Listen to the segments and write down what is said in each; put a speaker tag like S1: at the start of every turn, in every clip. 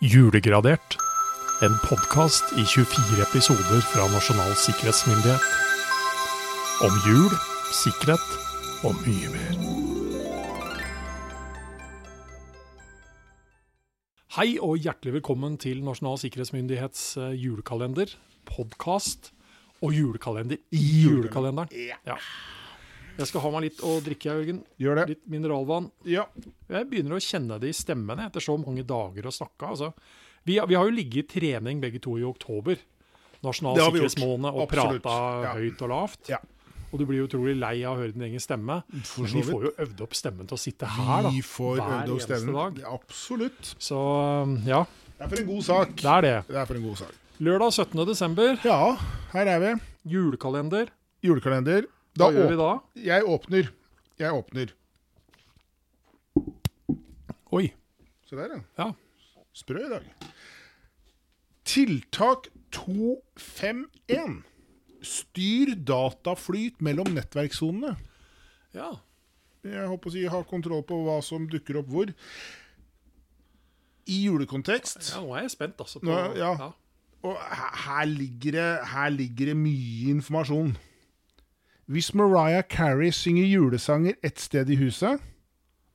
S1: Julegradert. En podkast i 24 episoder fra Nasjonal sikkerhetsmyndighet. Om jul, sikkerhet og mye mer. Hei og hjertelig velkommen til Nasjonal sikkerhetsmyndighets eh, julekalender, podkast og julekalender i julekalenderen. Ja. Jeg skal ha meg litt å drikke, Jørgen.
S2: Gjør det.
S1: Litt mineralvann.
S2: Ja.
S1: Jeg begynner å kjenne det i stemmen jeg, etter så mange dager å snakke. Altså. Vi, vi har jo ligget i trening begge to i oktober. Nasjonal
S2: Det har vi gjort.
S1: sikkerhetsmåned og
S2: Absolutt.
S1: prata
S2: Ja.
S1: høyt og lavt.
S2: Ja.
S1: Og du blir jo utrolig lei av å høre din egen stemme.
S2: for
S1: Men
S2: så
S1: vi får jo øvd opp stemmen til å sitte her,
S2: Vi
S1: da.
S2: får
S1: Hver
S2: øvd oss
S1: eneste
S2: stemmen.
S1: dag.
S2: Ja, Absolutt.
S1: Så ja,
S2: Det er for en god sak.
S1: det er det.
S2: Det er for en god sak.
S1: Lørdag 17. desember,
S2: Ja, her er vi.
S1: julekalender.
S2: Julekalender. Da
S1: Hva gjør vi da?
S2: åp- Jeg åpner. Jeg åpner.
S1: Oi.
S2: Se der, ja.
S1: Ja.
S2: Sprø i dag. Tiltak 251. Styr dataflyt mellom nettverkssonene.
S1: ja.
S2: jeg håper å si, ha kontroll på hva som dukker opp hvor. I julekontekst.
S1: Ja, nå er jeg spent, altså. På,
S2: Nå, ja. Og he- her ligger det, her ligger det mye informasjon. Hvis Mariah Carey synger julesanger ett sted i huset,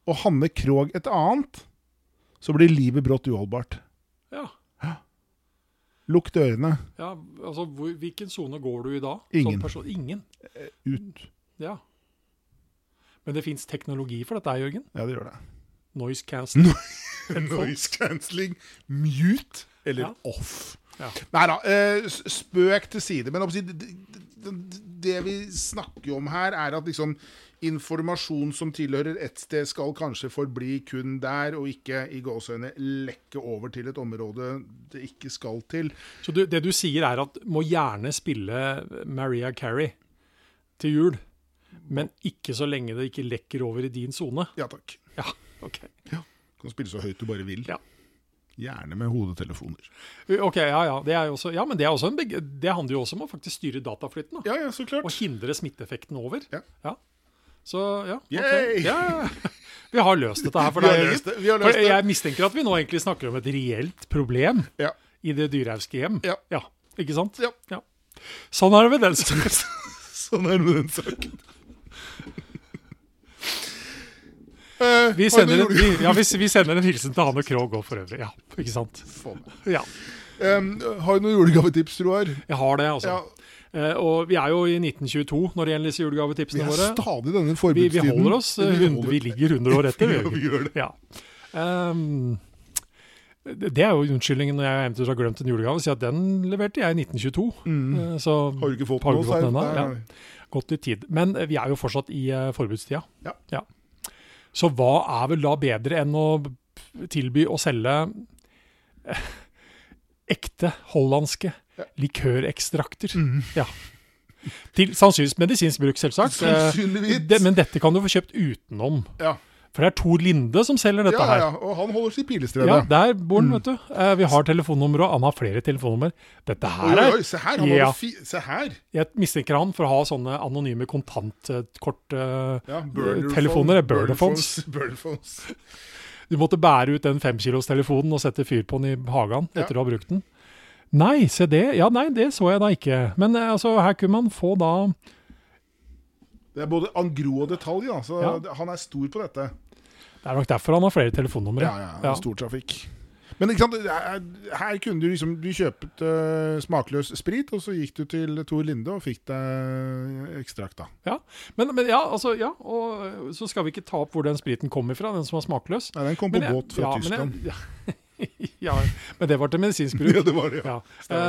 S2: og Hanne Krogh et annet, så blir livet brått uholdbart.
S1: ja.
S2: Lukt ørene.
S1: ja. Altså, hvor, hvilken sone går du i da? som
S2: Ingen.
S1: person? Ingen.
S2: Ut.
S1: Ja. Men det fins teknologi for dette, Jørgen.
S2: Ja, det gjør det.
S1: Noise cancelling.
S2: Noise cancelling, mute eller
S1: Ja.
S2: off.
S1: Ja.
S2: Nei da, eh, s- spøk til side. Men oppsi- det, det, det vi snakker om her, er at liksom informasjon som tilhører ett sted, skal kanskje forbli kun der, og ikke i gåseøyne lekke over til et område det ikke skal til.
S1: Så du, det du sier er at må gjerne spille Maria Carey til jul, men ikke så lenge det ikke lekker over i din sone.
S2: Ja takk.
S1: Ja, ok.
S2: Kan spille så høyt du bare vil.
S1: Ja.
S2: Gjerne med hodetelefoner.
S1: Ok, ja, ja. Det er jo også, ja, men det, er også en beg det handler jo også om å faktisk styre dataflyten, da.
S2: Ja, ja, så
S1: Og
S2: klart.
S1: hindre smitteeffekten over.
S2: Ja.
S1: Så, ja. ok.
S2: Yay!
S1: Ja, ja, ja. Vi har løst dette her for
S2: Vi har
S1: deg,
S2: løst det,
S1: Jørgen.
S2: vi har løst
S1: For
S2: det.
S1: jeg mistenker at vi nå egentlig snakker om et reelt problem
S2: Ja.
S1: i det dyrehauske hjem.
S2: Ja.
S1: ja. Ikke sant?
S2: ja.
S1: Ja. Sånn er det med den saken.
S2: Sånn er det med den saken. Eh,
S1: Vi
S2: Arne
S1: sender, en,
S2: Jordi-
S1: vi, ja, vi, vi sender en hilsen til Hanne Krogh òg, for øvrig. Ja, ikke sant?
S2: Faen.
S1: Ja,
S2: Em, har du noen julegavetips, Roar?
S1: jeg har det, altså.
S2: Ja.
S1: Eh, og vi er jo i 1922 når det gjelder disse
S2: Vi
S1: julegavetipsene
S2: er
S1: våre.
S2: stadig i denne
S1: Vi,
S2: forbudstiden.
S1: vi holder oss. eh,
S2: Vi
S1: hund- vi ligger 100 år etter.
S2: Ja, vi gjør det.
S1: Ja. Ehm, det det er jo unnskyldningen når jeg eventuelt har glemt en julegave. Si at den leverte jeg i 1922.
S2: Mm.
S1: Eh, så
S2: Har du ikke fått
S1: Har du
S2: noe,
S1: ikke fått
S2: så er-
S1: den ennå?
S2: Nei,
S1: Ja.
S2: nei.
S1: gått litt tid. Men eh, vi er jo fortsatt i eh, forbudstida.
S2: Ja.
S1: Så hva er vel da bedre enn å tilby å selge eh, ekte hollandske likørekstrakter?
S2: Mhm.
S1: Ja. Til sannsynligvis medisinsk bruk, selvsagt. Eh,
S2: Sannsynligvis.
S1: Det, men dette kan du få kjøpt utenom.
S2: Ja.
S1: For det er Tor Linde som selger dette
S2: ja,
S1: her.
S2: ja, og han holder seg i pilestredet.
S1: Ja, der bor
S2: Mm.
S1: han, vet du. Eh, vi har telefonnummer, og han har flere telefonnummer. Dette
S2: Oi,
S1: her
S2: oi,
S1: er
S2: oi, se her! Han
S1: Ja.
S2: hadde fi se her!
S1: Jeg mistenker han for å ha sånne anonyme eh, kontantkorttelefoner.
S2: Ja, burner
S1: telefoner er
S2: phone,
S1: burner phones.
S2: Burner phones.
S1: Du måtte bære ut den femkilostelefonen og sette fyr på den i hagen
S2: Ja.
S1: etter å ha brukt den. Nei, se det. Ja, nei, det så jeg da ikke. Men eh, altså, her kunne man få da
S2: Det er både angro og detalj, da, så
S1: Ja.
S2: det- han er stor på dette.
S1: Det er nok derfor han har flere telefonnumre.
S2: Ja, ja, ja. Stor trafikk. Men ikke sant, det er- her kunne du liksom Du kjøpte eh, smakløs sprit, og så gikk du til Tor Linde og fikk deg ekstrakt, da.
S1: Ja. Men, men ja, altså, ja. Og eh, så skal vi ikke ta opp hvor den spriten kommer fra, den som var smakløs.
S2: Nei, den kom
S1: Men
S2: på
S1: jeg-
S2: båt fra
S1: ja, men jeg-
S2: Tyskland.
S1: ja, men det var til medisinsk bruk.
S2: ja, det var det, ja.
S1: Ja.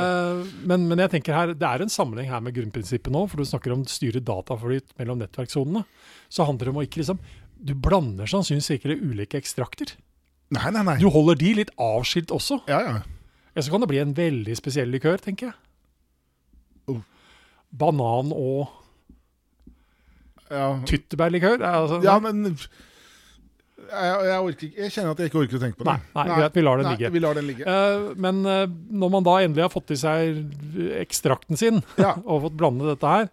S1: Eh, men, men jeg tenker her, det er en sammenheng her med grunnprinsippet nå, for du snakker om styre dataflyt mellom nettverkssonene. Så handler det om å ikke liksom Du blander sannsynligvis ikke ulike ekstrakter.
S2: Nei, nei, nei.
S1: Du holder de litt avskilt også.
S2: Ja, ja.
S1: Ellers så kan det bli en veldig spesiell likør, tenker jeg.
S2: Oh.
S1: Banan- og
S2: Ja,
S1: tyttebærlikør? er Altså,
S2: ja men jeg, jeg, orker, ikke- jeg kjenner at jeg ikke orker å tenke på det.
S1: Nei, nei, greit, vi lar den
S2: nei,
S1: ligge.
S2: Vi lar den ligge.
S1: Eh, men eh, når man da endelig har fått i seg ekstrakten sin
S2: Ja.
S1: og fått blande dette her,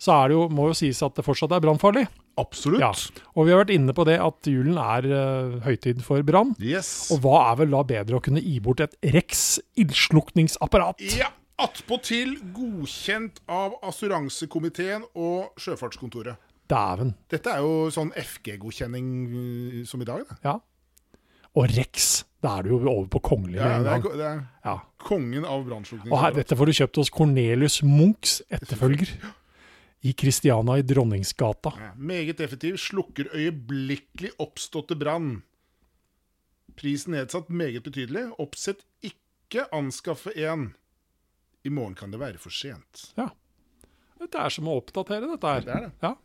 S1: så er det jo, må jo sies at det fortsatt er brannfarlig.
S2: Absolutt.
S1: Ja. Og vi har vært inne på det at julen er eh, høytid for brann.
S2: Yes.
S1: Og hva er vel da bedre å kunne gi bort et Rex ildslukningsapparat?
S2: Ja, attpåtil godkjent av assuransekomiteen og Sjøfartskontoret.
S1: Dæven.
S2: Dette er jo sånn FG-godkjenning eh, som i dag, da.
S1: Ja. Og Rex, da er du jo over på kongelig
S2: Ja,
S1: med en
S2: det, er,
S1: gang.
S2: ko- det er
S1: Ja.
S2: kongen av
S1: Og her,
S2: brannslukning.
S1: dette får du kjøpt hos Cornelius Munchs etterfølger i Kristiana i Dronningsgata.
S2: Ja, Meget effektiv. Slukker øyeblikkelig oppståtte brann. Prisen nedsatt meget betydelig. Oppsett ikke anskaffe en. I morgen kan det være for sent.
S1: Det er som å oppdatere dette her.
S2: Det er det.
S1: Ja.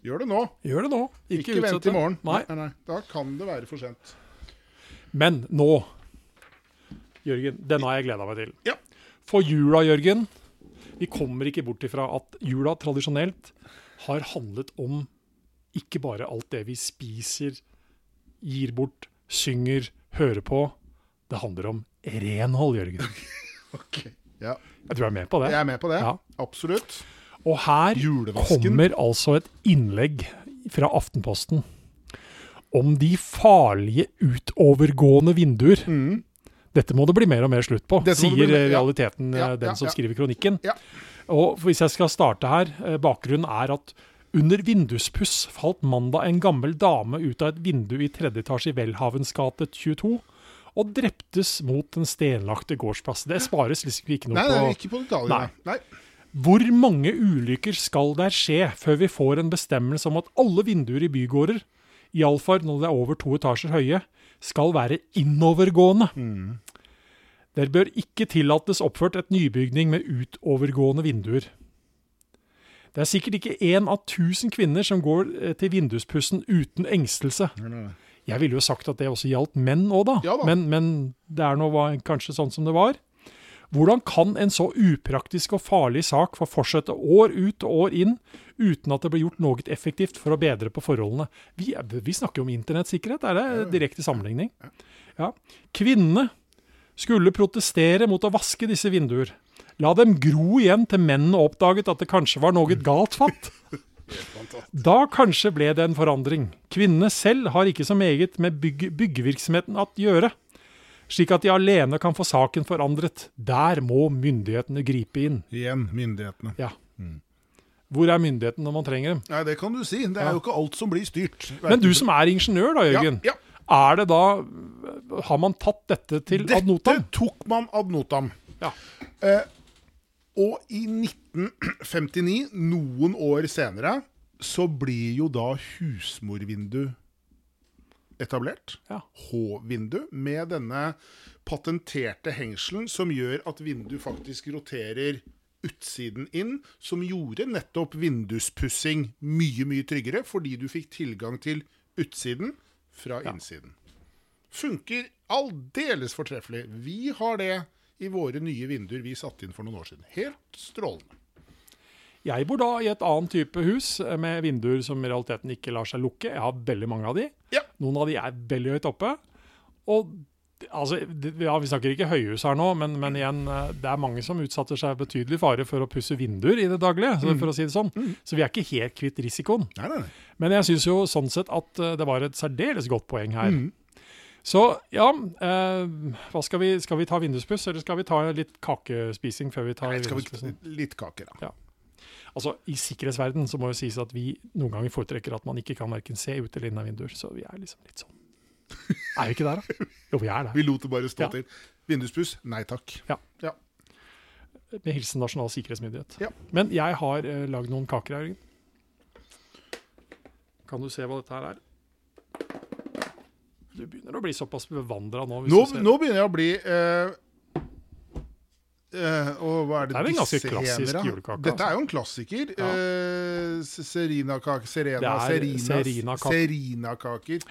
S2: Gjør det nå.
S1: Gjør det nå.
S2: Ikke,
S1: Ikke,
S2: vent
S1: utsett det.
S2: til morgen.
S1: Nei.
S2: Nei, nei. Da kan det være for sent.
S1: Men nå, Jørgen, denne har jeg gleda meg til.
S2: Ja.
S1: For jula, Jørgen Vi kommer ikke bort ifra at jula tradisjonelt har handlet om ikke bare alt det vi spiser, gir bort, synger, hører på. Det handler om renhold, Jørgen.
S2: Ok. Ja.
S1: Jeg tror jeg er med på det.
S2: Jeg er med på det.
S1: Ja.
S2: Absolutt.
S1: Og her
S2: Julevasken.
S1: kommer altså et innlegg fra Aftenposten om de farlige utovergående vinduer. Dette må det bli mer og mer slutt på,
S2: Mm. Dette må det bli
S1: sier
S2: mer- ja.
S1: realiteten,
S2: Ja,
S1: eh, den
S2: ja,
S1: som
S2: ja.
S1: skriver kronikken.
S2: Ja.
S1: Og hvis jeg skal starte her, eh, bakgrunnen er at under vinduspuss falt mandag en gammel dame ut av et vindu i tredje etasje i Welhavens gate 22, og dreptes mot den stenlagte gårdsplassen. Det spares liksom ikke noe
S2: Nei,
S1: på
S2: nei, ikke på detaljene. Nei.
S1: hvor mange ulykker skal der skje før vi får en bestemmelse om at alle vinduer i bygårder, iallfall når det er over to etasjer høye, skal være innovergående? Der bør ikke tillates oppført et nybygning med utovergående vinduer. Det er sikkert ikke én av tusen kvinner som går eh, til vinduspussen uten engstelse. Jeg ville jo sagt at det også gjaldt menn òg, da.
S2: Ja da.
S1: Men, men det er nå hva- kanskje sånn som det var. Hvordan kan en så upraktisk og farlig sak få fortsette år ut og år inn uten at det blir gjort noe effektivt for å bedre på forholdene? Vi, er- vi snakker jo om internettsikkerhet, er det direkte sammenligning? Ja. Kvinnene skulle protestere mot å vaske disse vinduer. La dem gro igjen til mennene oppdaget at det kanskje var noe galt fatt. Da kanskje ble det en forandring. Kvinnene selv har ikke så meget med bygg byggevirksomheten at gjøre, slik at de alene kan få saken forandret. Der må myndighetene gripe inn.
S2: Igjen myndighetene.
S1: Ja. Hvor er myndigheten når man trenger dem?
S2: Nei, det kan du si. Det er jo ikke alt som blir styrt.
S1: Men du som er ingeniør, da,
S2: ja,
S1: Jørgen.
S2: ja.
S1: Er det da Har man tatt dette til ad
S2: Dette
S1: notam?
S2: tok man ad notam.
S1: Ja.
S2: Og i 1959, noen år senere, så blir jo da husmorvindu etablert.
S1: Ja.
S2: H-vindu, med denne patenterte hengselen som gjør at vindu faktisk roterer utsiden inn, som gjorde nettopp vinduspussing mye, mye tryggere, fordi du fikk tilgang til utsiden fra innsiden. Funker aldeles fortreffelig. Vi har det i våre nye vinduer vi satte inn for noen år siden. Helt strålende.
S1: Jeg bor da i et annet type hus eh, med vinduer som i realiteten ikke lar seg lukke. Jeg har veldig mange av de.
S2: Ja.
S1: Noen av de er veldig høyt oppe. Og d- altså, d- ja, vi snakker ikke høyhus her nå, men, men igjen, eh, det er mange som utsetter seg betydelig fare for å pusse vinduer i det daglige, så,
S2: Mm.
S1: for å si det sånn. Så vi er ikke helt kvitt risikoen.
S2: Nei, nei, nei.
S1: Men jeg syns jo sånn sett at eh, det var et særdeles godt poeng her.
S2: Mm.
S1: Så ja, eh, hva skal vi, skal vi ta vinduspuss, eller skal vi ta litt kakespising før vi tar
S2: Skal
S1: vinduspussen?
S2: vi Litt kake, da.
S1: Altså, I sikkerhetsverden så må jo sies at vi noen ganger foretrekker at man ikke kan verken se ut eller inn av vinduer. Så vi er liksom litt sånn. Er vi ikke der, da? Jo, vi er der.
S2: Vi lot det bare stå
S1: Ja.
S2: til. Vinduspuss? Nei takk.
S1: Ja.
S2: ja.
S1: Med hilsen Nasjonal sikkerhetsmyndighet.
S2: Ja.
S1: Men jeg har uh, lagd noen kaker her, Jørgen. Kan du se hva dette her er? Du begynner å bli såpass bevandra nå. hvis
S2: Nå,
S1: du ser.
S2: nå begynner jeg å bli eh, eh, og hva er det,
S1: Det er vel en ganske
S2: disse
S1: klassisk
S2: hever, da?
S1: julekake, altså.
S2: Dette er jo en klassiker.
S1: Ja.
S2: Eh, se- Serinakake Serena,
S1: Det er
S2: Serinas-
S1: serinakake.
S2: Serinakaker.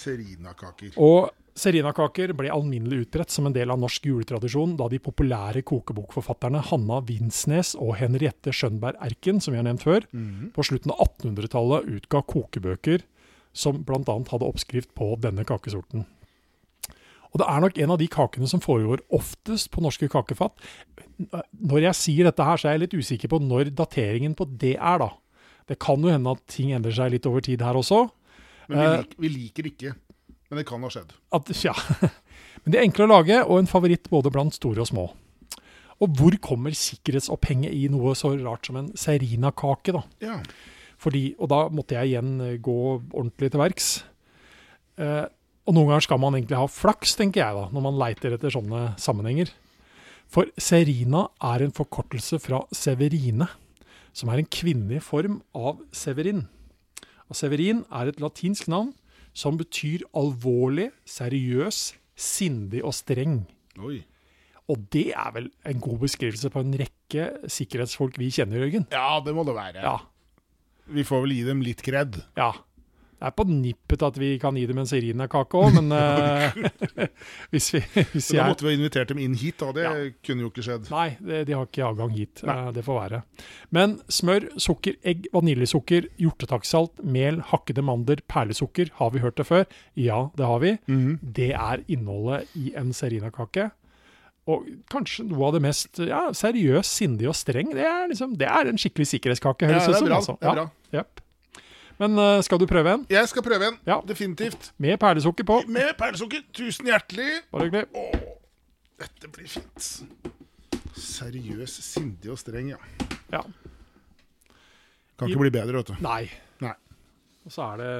S2: Serinakaker.
S1: Og Serinakaker ble alminnelig utbredt som en del av norsk juletradisjon da de populære kokebokforfatterne Hanna Vinsnes og Henriette Skjønberg Erken, som vi har nevnt før,
S2: Mhm.
S1: på slutten av 1800-tallet utga kokebøker som bl.a. hadde oppskrift på denne kakesorten. Og det er nok en av de kakene som foregår oftest på norske kakefat. Når jeg sier dette her, så er jeg litt usikker på når dateringen på det er, da. Det kan jo hende at ting endrer seg litt over tid her også.
S2: Men vi,
S1: Eh.
S2: lik, vi liker ikke. Men det kan ha skjedd.
S1: At, ja. Men de er enkle å lage, og en favoritt både blant store og små. Og hvor kommer sikkerhetsopphenget i noe så rart som en serinakake, da?
S2: Ja.
S1: Fordi, og da måtte jeg igjen eh, gå ordentlig til verks. Eh, og noen ganger skal man egentlig ha flaks, tenker jeg da, når man leiter etter sånne sammenhenger. For Serina er en forkortelse fra Severine, som er en kvinnelig form av Severin. Og Severin er et latinsk navn som betyr alvorlig, seriøs, sindig og streng.
S2: Oi.
S1: Og det er vel en god beskrivelse på en rekke sikkerhetsfolk vi kjenner, Jørgen?
S2: Ja, det må det være.
S1: Ja.
S2: Vi får vel gi dem litt kred.
S1: Ja. Det er på nippet til at vi kan gi dem en serinakake òg, men eh, hvis vi hvis
S2: Så da
S1: jeg,
S2: måtte vi ha invitert dem inn hit, da. Det
S1: Ja.
S2: kunne jo ikke skjedd.
S1: Nei, det, de har ikke adgang hit. Eh, det får være. Men smør, sukker, egg, vaniljesukker, hjortetakksalt, mel, hakkede mandler, perlesukker. Har vi hørt det før? Ja, det har vi.
S2: Mhm.
S1: Det er innholdet i en serinakake. Og kanskje noe av det mest ja, seriøst, sindig og streng. Det er, liksom, det er en skikkelig sikkerhetskake, høres
S2: Ja, det er
S1: ut som.
S2: bra,
S1: altså.
S2: det er bra.
S1: Ja, jep. Men eh, skal du prøve en?
S2: Jeg skal prøve en.
S1: Ja.
S2: Definitivt.
S1: Med perlesukker på.
S2: Med perlesukker. Tusen hjertelig.
S1: Bare hyggelig.
S2: Dette blir fint. Seriøs, sindig og streng, ja.
S1: Ja.
S2: Kan ikke bli bedre, vet du.
S1: Nei.
S2: Nei.
S1: Og så er det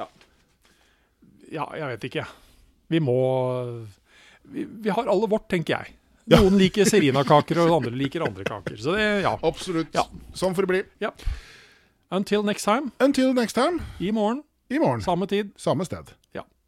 S1: Ja. Ja, jeg vet ikke, jeg. Vi må vi, vi har alle vårt, tenker jeg. Noen liker serinakaker, og andre liker andre kaker. Så det, ja.
S2: Absolutt.
S1: Ja.
S2: Sånn får det bli.
S1: ja. Until next time.
S2: Until next time
S1: I morgen,
S2: i morgen.
S1: samme tid.
S2: Samme sted.
S1: Ja.